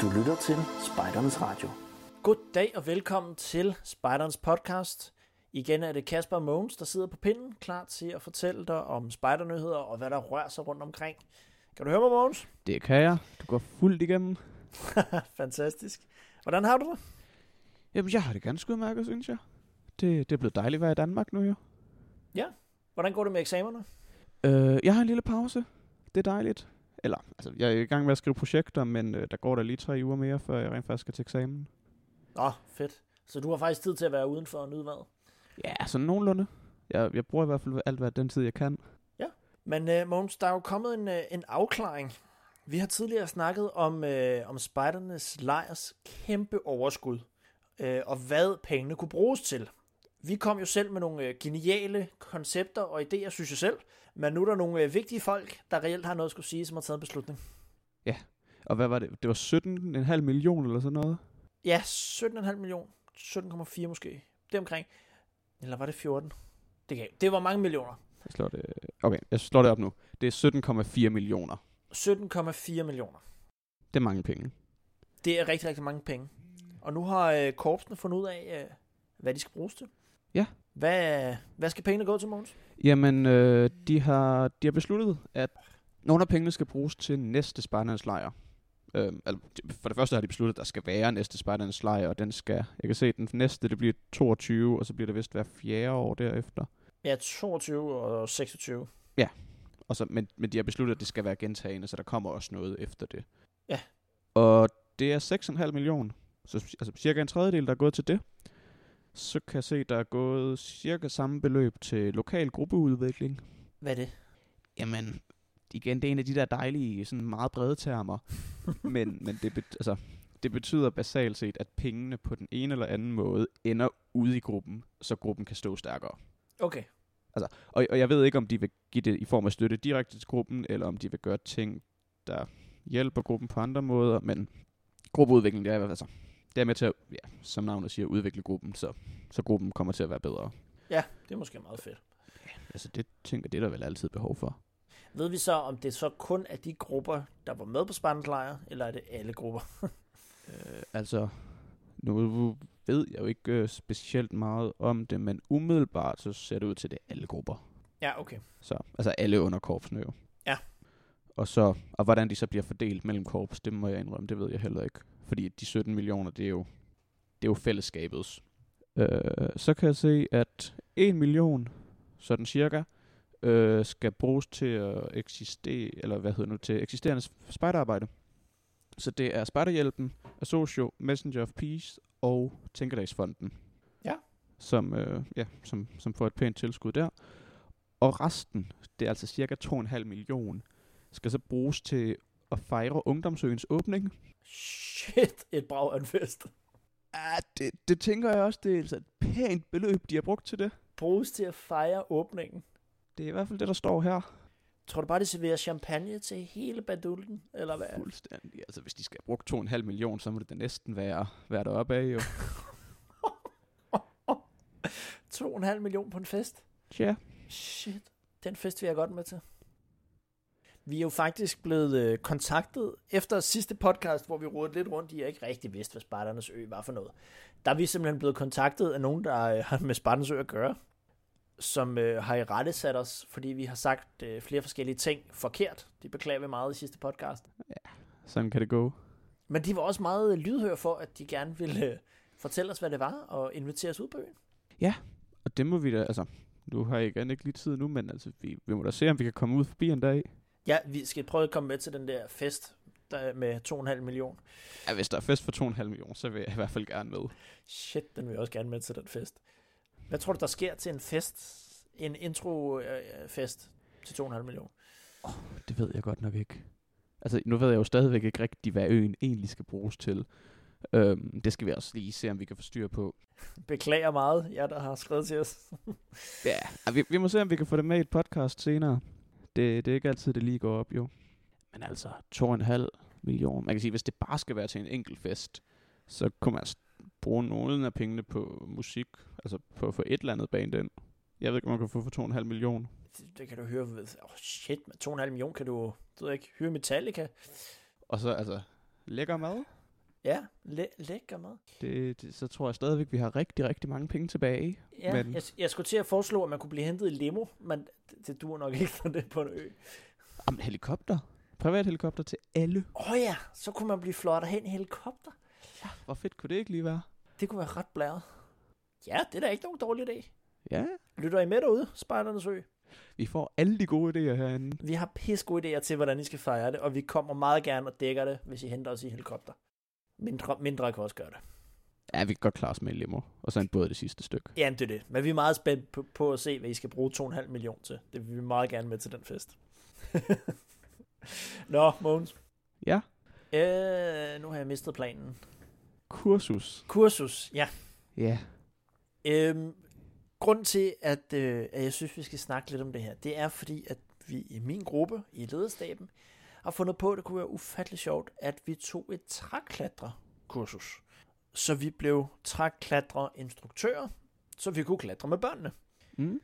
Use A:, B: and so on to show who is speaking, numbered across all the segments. A: Du lytter til Spejdernes Radio.
B: God dag og velkommen til Spejderens podcast. Igen er det Kasper og Mogens, der sidder på pinden, klar til at fortælle dig om spejdernyheder og hvad der rører sig rundt omkring. Kan du høre mig, Mogens?
C: Det kan jeg. Du går fuldt igennem.
B: Fantastisk. Hvordan har du det?
C: Jamen, jeg har det ganske udmærket, synes jeg. Det, det er blevet dejligt at være i Danmark nu, jo.
B: Hvordan går det med eksamenerne?
C: Øh, jeg har en lille pause. Det er dejligt. Eller, altså, jeg er i gang med at skrive projekter, men øh, der går der lige tre uger mere, før jeg rent faktisk skal til eksamen.
B: Nå, fedt. Så du har faktisk tid til at være udenfor og nyde vejret.
C: Ja, sådan nogenlunde. Jeg, jeg bruger i hvert fald alt, hvad den tid, jeg kan.
B: Men øh, Mogens, der er jo kommet en, øh, en afklaring. Vi har tidligere snakket om, øh, om spejdernes lejrs kæmpe overskud, øh, og hvad pengene kunne bruges til. Vi kom jo selv med nogle øh, geniale koncepter og idéer, synes jeg selv, men nu er der nogle øh, vigtige folk, der reelt har noget at skulle sige, som har taget en beslutning.
C: Og hvad var det? Det var 17,5 millioner eller sådan noget.
B: Ja, 17,5 millioner. 17,4 måske. Det omkring. Eller var det 14? Det, gav. det var mange millioner.
C: Jeg slår det... Okay, jeg slår det op nu. Det er 17,4 millioner.
B: 17,4 millioner.
C: Det er mange penge.
B: Det er rigtig, rigtig mange penge. Og nu har øh, korpsene fundet ud af, øh, hvad de skal bruges til.
C: Ja.
B: Hvad, hvad skal pengene gå til, Mogens?
C: Jamen, øh, de, har, de har besluttet, at nogle af pengene skal bruges til næste spejderlandslejr. Øhm, altså, de- for det første har de besluttet, at der skal være næste spejderlandslejr, og den skal, jeg kan se, den næste, det bliver 22, og så bliver det vist hver fjerde år derefter.
B: Ja, 22 og 26.
C: Og så, men, men de har besluttet, at det skal være gentagende, så der kommer også noget efter det.
B: Ja.
C: Og det er 6,5 millioner. Så c- altså, cirka en tredjedel, der er gået til det. Så kan jeg se, der er gået cirka samme beløb til lokal gruppeudvikling.
B: Hvad er det?
C: Jamen, igen, det er en af de der dejlige, sådan meget brede termer. men men det, bet, altså, det betyder basalt set, at pengene på den ene eller anden måde ender ude i gruppen, så gruppen kan stå stærkere.
B: Okay.
C: Og, og jeg ved ikke, om de vil give det i form af støtte direkte til gruppen, eller om de vil gøre ting, der hjælper gruppen på andre måder, men gruppeudvikling, det er i hvert fald så. Det er med til at, ja, som navnet siger, udvikle gruppen, så, så gruppen kommer til at være bedre.
B: Ja, det er måske meget fedt.
C: Altså det tænker jeg, det er der vel altid behov for.
B: Ved vi så, om det så kun er de grupper, der var med på spændelejre, eller er det alle grupper?
C: Øh, altså, nu ved jeg jo ikke øh, specielt meget om det, men umiddelbart så ser det ud til, at det er alle grupper.
B: Ja, okay.
C: Så, altså alle under korpsene jo.
B: Ja.
C: Og, så, og hvordan de så bliver fordelt mellem korps, det må jeg indrømme, det ved jeg heller ikke. Fordi de 17 millioner, det er jo, det er jo fællesskabets. Øh, så kan jeg se, at 1 million, sådan cirka, øh, skal bruges til at eksistere, eller hvad hedder nu, til eksisterende spejderarbejde. Så det er Spejderhjælpen, Associo, Messenger of Peace og Tænkedagsfonden.
B: Ja.
C: Som, øh, ja, som, som får et pænt tilskud der. Og resten, det er altså cirka 2,5 millioner, skal så bruges til at fejre Ungdomsøens åbning.
B: Shit, et brag af en fest.
C: Ah, det, det tænker jeg også, det er altså et pænt beløb, de har brugt til det.
B: Bruges til at fejre åbningen.
C: Det er i hvert fald det, der står her.
B: Tror du bare, de serverer champagne til hele badulten, eller hvad?
C: Fuldstændig. Altså, hvis de skal bruge 2,5 millioner, så må det da næsten være, være deroppe af, jo.
B: 2,5 millioner på en fest?
C: Tja.
B: Shit, den fest vil jeg godt med til. Vi er jo faktisk blevet øh, kontaktet efter sidste podcast, hvor vi rodede lidt rundt i, og ikke rigtig vidste, hvad Spartanernes Ø var for noget. Der er vi simpelthen blevet kontaktet af nogen, der øh, har med Spartanernes Ø at gøre, som øh, har i rette sat os, fordi vi har sagt øh, flere forskellige ting forkert. Det beklager vi meget i sidste podcast.
C: Sådan kan det gå.
B: Men de var også meget lydhør for, at de gerne ville øh, fortælle os, hvad det var, og invitere os ud på øen.
C: Og det må vi da, altså, nu har jeg igen ikke lige tid nu, men altså, vi, vi må da se, om vi kan komme ud forbi en dag.
B: Ja, vi skal prøve at komme med til den der fest der med 2,5 millioner.
C: Ja, hvis der er fest for 2,5 millioner, så vil jeg i hvert fald gerne med.
B: Shit, den vil jeg også gerne med til den fest. Hvad tror du, der sker til en fest? En intro-fest til 2,5 millioner?
C: Det ved jeg godt nok ikke. Altså, nu ved jeg jo stadigvæk ikke rigtigt, hvad øen egentlig skal bruges til. Øhm, det skal vi også lige se, om vi kan få styr på.
B: Beklager meget, jer der har skrevet til os.
C: Ja, ah, vi, vi må se, om vi kan få det med i et podcast senere. Det, det er ikke altid, det lige går op, jo. Men altså, 2,5 millioner. Man kan sige, hvis det bare skal være til en enkelt fest, så kunne man altså bruge nogle af pengene på musik. Altså på at få et eller andet band ind. Jeg ved ikke, om man kan få for 2,5 millioner.
B: Det, det kan du høre ved. Oh, shit, med 2,5 millioner kan du, du ved jeg ikke, hyre Metallica.
C: Og så altså, lækker mad.
B: Ja, læ- lækker mad.
C: Det, det, så tror jeg stadigvæk, vi har rigtig, rigtig mange penge tilbage.
B: Ja,
C: Men-
B: men... jeg, jeg skulle til at foreslå, at man kunne blive hentet i limo, men det, det duer nok ikke, når det er på en ø.
C: Jamen, helikopter. Privat helikopter til alle.
B: Åh oh ja, så kunne man blive flottet hen i helikopter.
C: Hvor fedt kunne det ikke lige være?
B: Det kunne være ret blæret. Ja, det er da ikke nogen dårlig idé.
C: Ja,
B: Lytter I med derude, Spejdernes Ø?
C: vi får alle de gode idéer herinde.
B: Vi har pisse gode idéer til, hvordan I skal fejre det, og vi kommer meget gerne og dækker det, hvis I henter os i helikopter. Mindre, mindre kan også gøre det.
C: Ja, vi kan godt klare os med en limo. Og så en båd det sidste stykke.
B: Ja, det er det. Men vi er meget spændt på, på at se, hvad I skal bruge 2,5 millioner til. Det vil vi meget gerne med til den fest. Nå, Mogens.
C: Ja,
B: Øh, nu har jeg mistet planen.
C: kursus.
B: Kursus, ja.
C: Ja,
B: Øhm, grunden til, at, øh, at jeg synes, vi skal snakke lidt om det her, det er fordi, at vi i min gruppe, i lederstaben, har fundet på, at det kunne være ufattelig sjovt, at vi tog et træklatrekursus. Så vi blev træklatreinstruktører, så vi kunne klatre med børnene.
C: mm.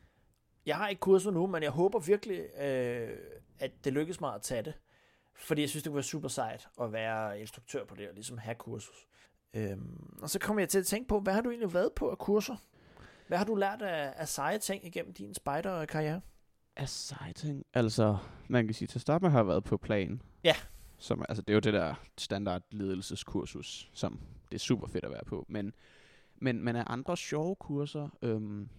B: Jeg har ikke kurset nu, men jeg håber virkelig, øh, at det lykkes mig at tage det. Fordi jeg synes, det kunne være super sejt at være instruktør på det, og ligesom have kursus. Øhm, og så kommer jeg til at tænke på, hvad har du egentlig været på af kurser? Hvad har du lært af, af seje ting igennem din spider-karriere?
C: Exciting. Altså, man kan sige, til at starte med har jeg været på plan.
B: Ja.
C: Som, altså, det er jo det der standard ledelseskursus, som det er super fedt at være på. Men, men, men af andre sjove kurser, øhm,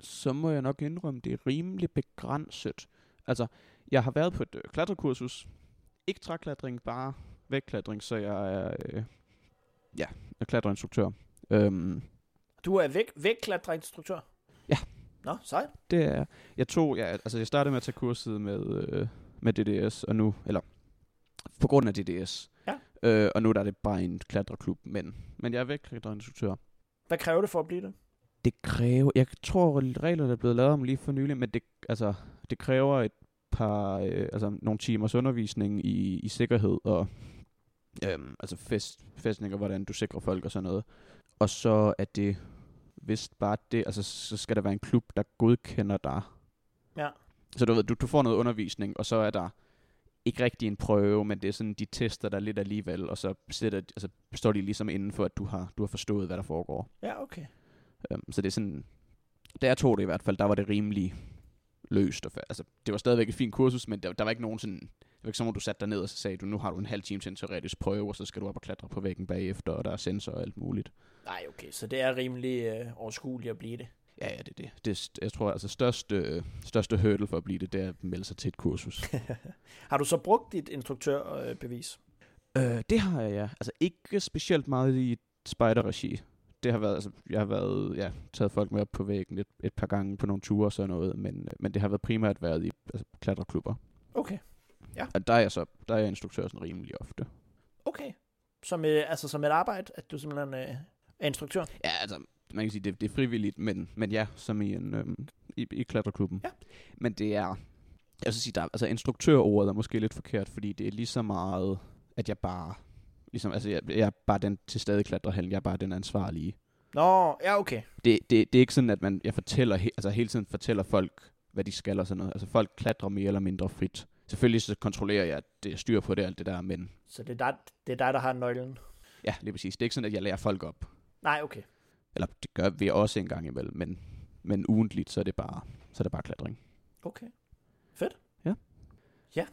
C: så må jeg nok indrømme, det er rimelig begrænset. Altså, jeg har været på et øh, klatrekursus. Ikke træklatring, bare vægtklatring, så jeg er, øh, ja, er klatreinstruktør. Øhm,
B: Du er væk, vægtklatreinstruktør.
C: Ja.
B: Nå, sejt.
C: Det er jeg tog jeg altså jeg startede med at tage kurset med øh, med DDS og nu eller på grund af DDS.
B: Ja.
C: Øh, og nu der er det bare en klatreklub, men men jeg er væk klatreinstruktør.
B: Hvad kræver det for at blive det?
C: Det kræver jeg tror reglerne er blevet lavet om lige for nylig, men det altså det kræver et par øh, altså nogle timers undervisning i i sikkerhed og øhm, altså fest, festninger, hvordan du sikrer folk og sådan noget. Og så er det vist bare det, altså så skal der være en klub, der godkender dig
B: Ja.
C: så du ved, du, du får noget undervisning, og så er der ikke rigtig en prøve, men det er sådan, de tester dig lidt alligevel, og så sætter, altså, står de ligesom inden for, at du har, du har forstået, hvad der foregår.
B: Ja, okay.
C: Um, så det er sådan, da jeg tog det i hvert fald, der var det rimelig løst. Og fa- altså, det var stadigvæk et fint kursus, men der, der var ikke nogen sådan, det var ikke som om du satte dig ned, og så sagde du, nu har du en halv time til en teoretisk prøve, og så skal du op og klatre på væggen bagefter, og der er sensor og alt muligt.
B: Nej, okay. Så det er rimelig øh, overskueligt at blive det.
C: Ja, ja, det er det. det er, st- jeg tror, altså største, øh, største hurdle for at blive det, det er at melde sig til et kursus.
B: har du så brugt dit instruktørbevis?
C: Øh, det har jeg, ja. Altså ikke specielt meget i spider-regi. Det har været, altså, jeg har været, ja, taget folk med op på væggen et, et par gange på nogle ture og sådan noget, men, men det har været primært været i altså, klatreklubber.
B: Okay.
C: Og der er jeg så, der er jeg instruktør sådan rimelig ofte.
B: Okay. Som, øh, altså som et arbejde, at du simpelthen øh, er instruktør?
C: Ja, altså, man kan sige, det, det er frivilligt, men, men ja, som i en, øhm, i, i klatreklubben.
B: Ja.
C: Men det er, jeg vil så sige, der, er- altså instruktørordet er måske lidt forkert, fordi det er lige så meget, at jeg bare, ligesom, altså jeg, jeg er bare den til stede klatrehalen, jeg er bare den ansvarlige.
B: Nå, ja, okay.
C: det, det, det er ikke sådan, at man, jeg fortæller, he- altså hele tiden fortæller folk, hvad de skal og sådan noget. Altså folk klatrer mere eller mindre frit. Selvfølgelig så kontrollerer jeg, at det jeg styrer på det og alt det der, men
B: Så det er, dig, det er dig, der har nøglen?
C: ja, lige præcis. Det er ikke sådan, at jeg lærer folk op.
B: Nej, okay.
C: Eller det gør vi også en gang imellem, men, men ugentligt, så er det bare, så er det bare klatring.
B: Okay.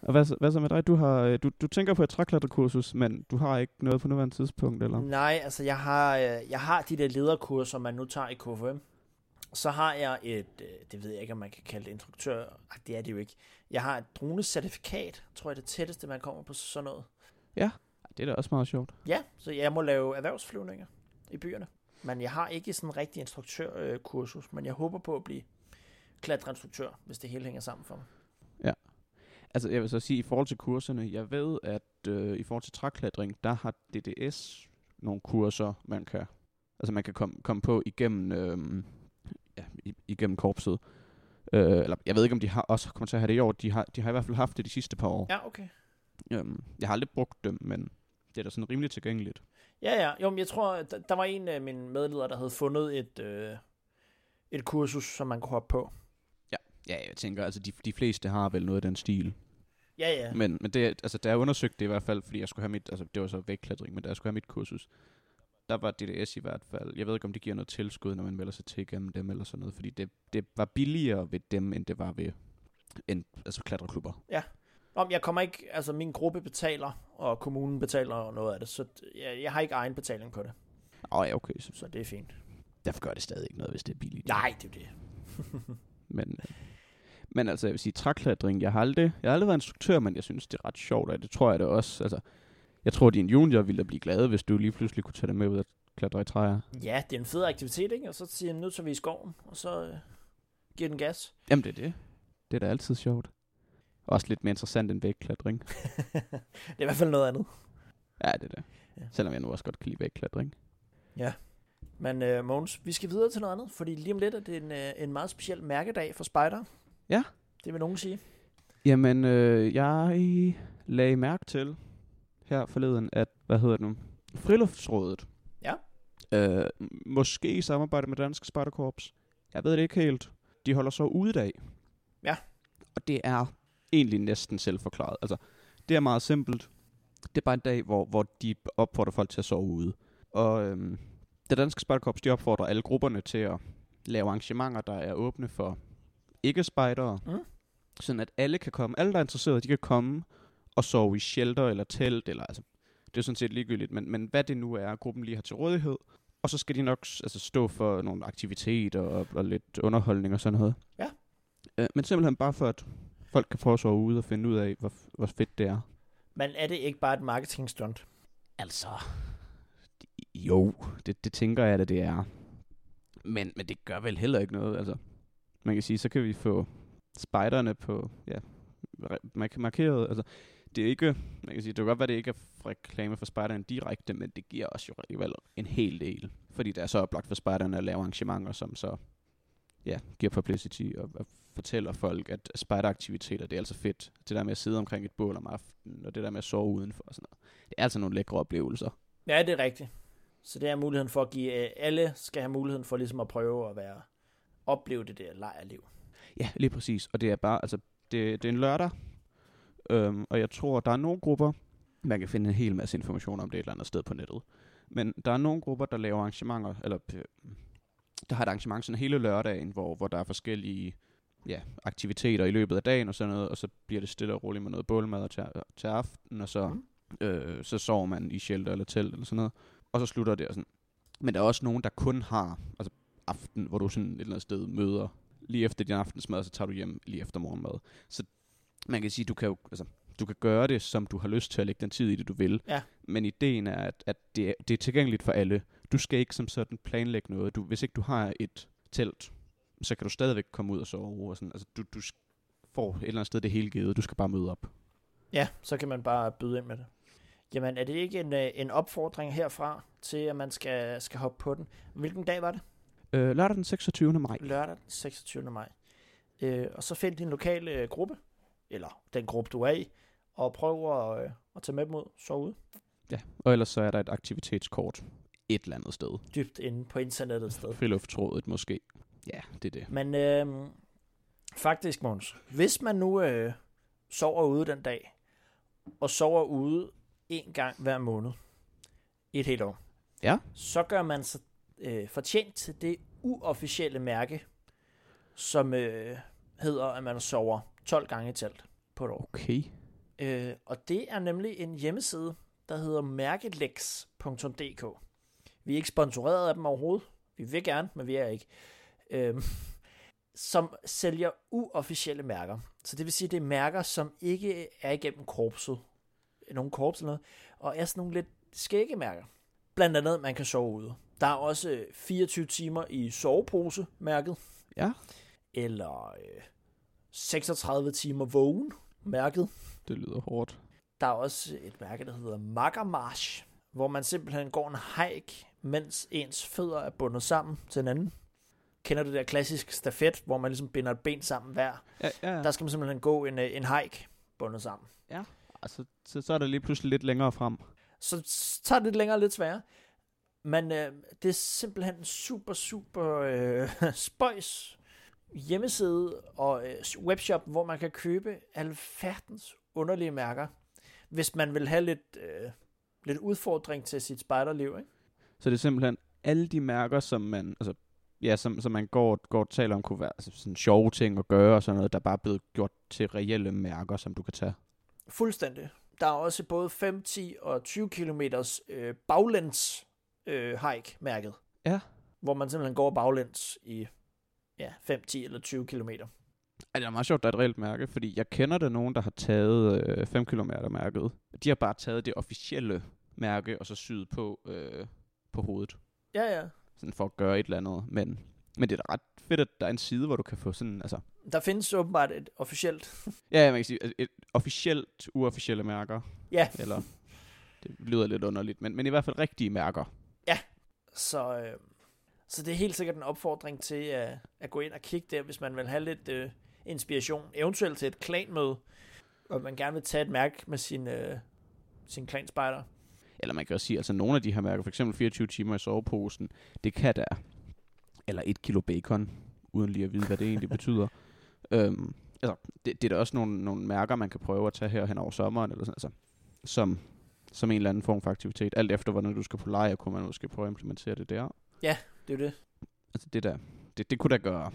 C: Og hvad, så- hvad så med dig? Du, har, øh, du, du tænker på et træklatrekursus, men du har ikke noget på nuværende tidspunkt, eller?
B: Nej, altså jeg har, øh, jeg har de der lederkurser, man nu tager i KFM. Så har jeg et, øh, det ved jeg ikke, om man kan kalde det instruktør. Ej, det er det jo ikke. Jeg har et dronecertifikat, tror jeg det tætteste, man kommer på sådan noget.
C: Det er da også meget sjovt.
B: Ja, så jeg må lave erhvervsflyvninger i byerne. Men jeg har ikke sådan en rigtig instruktørkursus, øh, men jeg håber på at blive klatreinstruktør, hvis det hele hænger sammen for mig.
C: Altså, jeg vil så sige, i forhold til kurserne, jeg ved, at øh, i forhold til træklatring, der har DDS nogle kurser, man kan, altså man kan komme komme på igennem, øh, ja, i- igennem korpset. Øh, eller jeg ved ikke, om de har også kommer til at have det i år. De har, de har i hvert fald haft det de sidste par år.
B: Ja, okay.
C: Ja. Øhm, jeg har aldrig brugt dem, men det er da sådan rimelig tilgængeligt.
B: Ja, ja. Jo, men jeg tror, der, der var en af mine medledere, der havde fundet et, øh, et kursus, som man kunne hoppe på.
C: Ja, jeg tænker, altså de, de fleste har vel noget af den stil.
B: Ja, ja.
C: Men, men det, altså, da jeg undersøgte det i hvert fald, fordi jeg skulle have mit, altså det var så vægtklatring, men da jeg skulle have mit kursus, der var DDS i hvert fald, jeg ved ikke om det giver noget tilskud, når man melder sig til igennem dem eller sådan noget, fordi det, det var billigere ved dem, end det var ved end, altså klatreklubber.
B: Om jeg kommer ikke, altså min gruppe betaler, og kommunen betaler noget af det, så jeg, jeg har ikke egen betaling på det,
C: Åh oh, ja, okay, så
B: så det er fint.
C: derfor gør det stadig ikke noget, hvis det er billigt.
B: Nej, det er jo det.
C: Men, øh, men altså, jeg vil sige, træklatring, jeg har aldrig, jeg har aldrig været instruktør, men jeg synes, det er ret sjovt, og det tror jeg det også. Altså, jeg tror, din junior ville da blive glade, hvis du lige pludselig kunne tage dig med ud og klatre i træer.
B: Ja, det er en fed aktivitet, ikke? Og så siger jeg, nu tager vi i skoven, og så øh, giver den gas.
C: Jamen, det er det. Det er da altid sjovt. Også lidt mere interessant end vægklatring.
B: det er i hvert fald noget andet.
C: Ja, det er det.
B: Ja.
C: Selvom jeg nu også godt kan lide vægklatring.
B: Men øh, Mogens, vi skal videre til noget andet, fordi lige om lidt er det en, øh, en meget speciel mærkedag for spider.
C: Ja.
B: Det vil nogen sige.
C: Jamen, øh, jeg lagde mærke til her forleden, at, hvad hedder det nu, Friluftsrådet.
B: Ja.
C: Øh, måske i samarbejde med Dansk Spartakorps. Jeg ved det ikke helt. De holder så ude i dag.
B: Ja.
C: Og det er egentlig næsten selvforklaret. Altså, det er meget simpelt. Det er bare en dag, hvor, hvor de opfordrer folk til at sove ude. Og øhm, det danske Spartakorps, de opfordrer alle grupperne til at lave arrangementer, der er åbne for ikke-spejdere.
B: Mm.
C: Sådan at alle kan komme, alle der er interesserede, de kan komme og sove i shelter eller telt, eller altså, det er sådan set ligegyldigt, men, men hvad det nu er, gruppen lige har til rådighed. Og så skal de nok s- altså, stå for nogle aktiviteter og, og lidt underholdning og sådan noget.
B: Ja.
C: Øh, men simpelthen bare for, at folk kan få at sove ude og finde ud af, hvor, hvor fedt det er.
B: Men er det ikke bare et marketingstunt?
C: Altså, jo, det, det tænker jeg, at det er. Men, men det gør vel heller ikke noget, altså. Man kan sige, så kan vi få spejderne på, ja, re- man kan markere, altså, det er ikke, man kan sige, det kan godt være, det ikke er f- reklame for spejderne direkte, men det giver os jo alligevel en hel del, fordi det er så oplagt for spejderne at lave arrangementer, som så, ja, giver publicity og, og fortæller folk, at spejderaktiviteter, det er altså fedt. Det der med at sidde omkring et bål om aftenen, og det der med at sove udenfor og sådan noget. Det er altså nogle lækre oplevelser.
B: Ja, det er rigtigt. Så det er muligheden for at give, øh, alle skal have muligheden for ligesom at prøve at være, opleve det der lejerliv.
C: Ja, lige præcis. Og det er bare, altså, det, det er en lørdag, øhm, og jeg tror, der er nogle grupper, man kan finde en hel masse information om det et eller andet sted på nettet, men der er nogle grupper, der laver arrangementer, eller øh, der har et arrangement sådan hele lørdagen, hvor, hvor der er forskellige ja, aktiviteter i løbet af dagen og sådan noget, og så bliver det stille og roligt med noget bålmad og til, til aften, og så, øh, så sover man i shelter eller telt eller sådan noget, og så slutter det og sådan. Men der er også nogen, der kun har altså aften, hvor du sådan et eller andet sted møder lige efter din aftensmad, så tager du hjem lige efter morgenmad. Så man kan sige, du kan jo, altså, du kan gøre det, som du har lyst til at lægge den tid i det, du vil.
B: Ja.
C: Men ideen er, at, at det, er, det er tilgængeligt for alle. Du skal ikke som sådan planlægge noget. Du, hvis ikke du har et telt, så kan du stadigvæk komme ud og sove. Og sådan. Altså, du, du sk- får et eller andet sted det hele givet. Du skal bare møde op.
B: Ja, så kan man bare byde ind med det. Jamen, er det ikke en, øh, en opfordring herfra til, at man skal, skal hoppe på den? Hvilken dag var det?
C: Øh, lørdag den 26. maj.
B: lørdag den 26. maj. Øh, og så find din lokale øh, gruppe, eller den gruppe, du er i, og prøv at, øh, at tage med dem ud, så ud,
C: Ja. Og ellers så er der et aktivitetskort et eller andet sted.
B: dybt inde på internettet et sted.
C: Friluftsrådet måske. Ja, det er det.
B: Men øh, faktisk, Måns, hvis man nu øh, sover ude den dag, og sover ude en gang hver måned, i et helt år,
C: Ja.
B: så gør man sig øh, fortjent til det uofficielle mærke, som øh, hedder, at man sover 12 gange i telt på et år.
C: Okay.
B: Øh, og det er nemlig en hjemmeside, der hedder mærkelex.dk. Vi er ikke sponsoreret af dem overhovedet. Vi vil gerne, men vi er ikke. Øh, som sælger uofficielle mærker. Så det vil sige, det er mærker, som ikke er igennem korpset. Nogle korps eller noget. Og er sådan nogle lidt skægge mærker. Blandt andet, man kan sove ude. Der er også øh, 24 timer i sovepose-mærket.
C: Ja.
B: Eller øh, 36 timer vågen-mærket.
C: Det lyder hårdt.
B: Der er også et mærke, der hedder Makkermarsch, hvor man simpelthen går en hike, mens ens fødder er bundet sammen til hinanden. Kender du det der klassiske stafet, hvor man ligesom binder et ben sammen hver?
C: Ja, ja, ja.
B: Der skal man simpelthen gå en, øh, en hike bundet sammen.
C: Altså, så, så er det lige pludselig lidt længere frem.
B: Så s- tager det lidt længere og lidt sværere. Men øh, det er simpelthen en super, super øh, spøjs hjemmeside og øh, webshop, hvor man kan købe alverdens underlige mærker, hvis man vil have lidt, øh, lidt udfordring til sit spejderliv, ikke?
C: Så det er simpelthen alle de mærker, som man, altså, ja, som, som man går, går og taler om, kunne være altså, sådan sjove ting at gøre og sådan noget, der bare er blevet gjort til reelle mærker, som du kan tage.
B: Fuldstændig. Der er også både 5, 10 og 20 km øh, baglæns øh, hike mærket.
C: Ja.
B: Hvor man simpelthen går baglæns i ja, 5, 10 eller 20 km.
C: Ej, det er meget sjovt, der er et reelt mærke, fordi jeg kender der nogen, der har taget øh, 5 km mærket. De har bare taget det officielle mærke og så syet på, øh, på hovedet.
B: Ja, ja.
C: sådan for at gøre et eller andet. Men, men det er da ret fedt, at der er en side, hvor du kan få sådan, altså...
B: Der findes åbenbart et officielt...
C: Ja, ja, man kan sige, altså, et, et officielt uofficielle mærker,
B: ja,
C: eller... Det lyder lidt underligt, men, men i hvert fald rigtige mærker.
B: Så, øh, så det er helt sikkert en opfordring til at, at gå ind og kigge der, hvis man vil have lidt øh, inspiration. Eventuelt til et klanmøde, og man gerne vil tage et mærke med sin, øh, sin klanspejder.
C: Eller man kan også sige, altså nogle af de her mærker, for eksempel 24 timer i soveposen, det kan der. Eller et kilo bacon, uden lige at vide, hvad det egentlig betyder. Øhm, altså, det, det er da også nogle, nogle mærker, man kan prøve at tage her hen over sommeren, eller sådan, altså, som, som en eller anden form for aktivitet. Alt efter, hvordan du skal på lejr, kunne man måske prøve at implementere det der.
B: Det er jo det.
C: Altså det der, det, det kunne da gøre,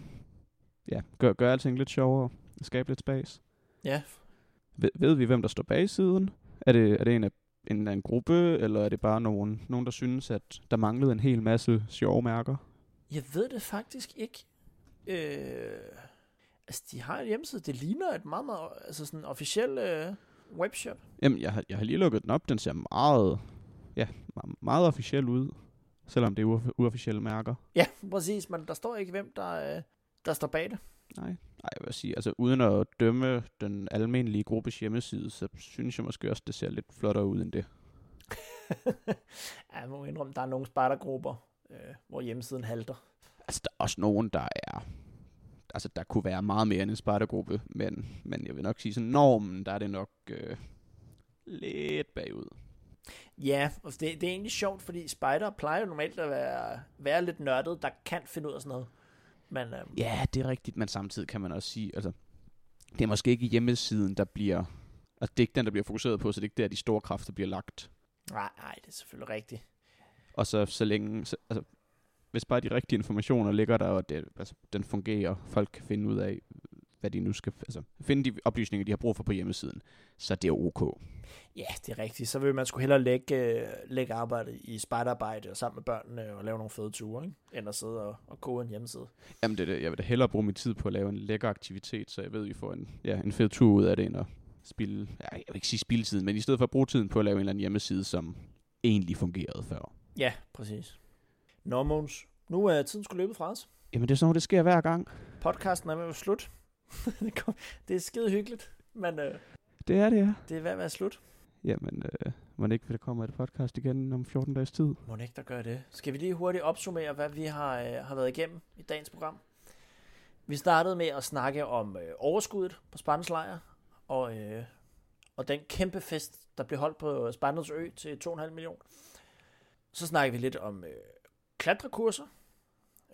C: ja, gør, gør alting lidt sjovere, skabe lidt spas.
B: Ja.
C: Ved, ved vi, hvem der står bag siden? Er det, er det en, af, en, en gruppe, eller er det bare nogen, nogen, der synes, at der manglede en hel masse sjove mærker?
B: Jeg ved det faktisk ikke. Øh, altså, de har en hjemmeside. Det ligner et meget, meget altså sådan en officiel øh, webshop.
C: Jamen, jeg har, jeg har lige lukket den op. Den ser meget, ja, me- meget officiel ud, selvom det er uof- uofficielle mærker.
B: Ja, præcis, men der står ikke, hvem der, øh, der står bag det.
C: Ej, jeg vil sige, altså uden at dømme den almindelige gruppes hjemmeside, så synes jeg måske også, det ser lidt flottere ud end det.
B: ja, jeg må indrømme, der er nogle spejdergrupper, øh, hvor hjemmesiden halter.
C: Altså, der er også nogen, der er... Altså, der kunne være meget mere end en spartagruppe, men, men jeg vil nok sige, sådan normen, der er det nok øh, lidt bagud.
B: Ja, og det, det er egentlig sjovt, fordi spider plejer jo normalt at være, være lidt nørdet, der kan finde ud af sådan noget. Men øhm,
C: Ja, det er rigtigt, men samtidig kan man også sige, altså, det er måske ikke hjemmesiden, der bliver... Altså, det er ikke den, der bliver fokuseret på, så det er ikke der, de store kræfter bliver lagt.
B: nej, nej, det er selvfølgelig rigtigt.
C: Og så, så længe... Så, altså, hvis bare de rigtige informationer ligger der, og det, altså, den fungerer, folk kan finde ud af, hvad de nu skal... Altså, finde de oplysninger, de har brug for på hjemmesiden, så det er ok.
B: Ja, det er rigtigt. Så vil man sgu hellere lægge, øh, lægge arbejde i spejderarbejde og sammen med børnene og lave nogle fede ture, ikke? end at sidde og, og koge en hjemmeside.
C: Jamen, det, er det, jeg vil da hellere bruge min tid på at lave en lækker aktivitet, så jeg ved, at vi får en, ja, en fed tur ud af det, end at spille, ja, jeg vil ikke sige spildtiden, men i stedet for at bruge tiden på at lave en eller anden hjemmeside, som egentlig fungerede før.
B: Ja, præcis. Nå, Måns, nu er tiden skulle løbe fra os.
C: Jamen, det er sådan noget, det sker hver gang.
B: Podcasten er ved at være slut. Det kom- det er skide hyggeligt, men øh,
C: Det er det, ja.
B: det er ved at være slut.
C: Jamen, øh, må det ikke, der kommer et podcast igen om 14 dages tid?
B: Må ikke, der gør det. Skal vi lige hurtigt opsummere, hvad vi har, øh, har været igennem i dagens program? Vi startede med at snakke om øh, overskuddet på Spartans lejr, og, øh, og den kæmpe fest, der blev holdt på Spartans ø til 2,5 millioner. Så snakkede vi lidt om øh, klatrekurser,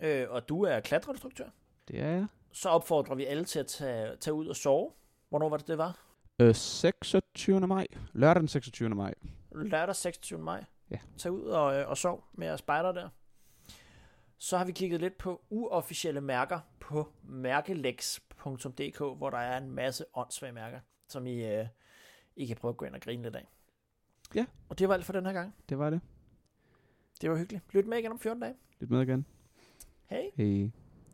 B: øh, og du er klatreinstruktør.
C: Det er jeg.
B: Så opfordrer vi alle til at tage, tage ud og sove. Hvornår var det, det var?
C: Øh, 26. maj. Lørdag den 26. maj.
B: Lørdag 26. maj.
C: Ja.
B: Tag ud og, øh, og sov med jeres spejder der. Så har vi kigget lidt på uofficielle mærker på mærkelex.dk, hvor der er en masse åndssvage mærker, som I, øh, I kan prøve at gå ind og grine lidt af.
C: Ja.
B: Og det var alt for den her gang.
C: Det var det.
B: Det var hyggeligt. Lyt med igen om 14 dage.
C: Lidt med igen.
B: Hej.
C: Hej.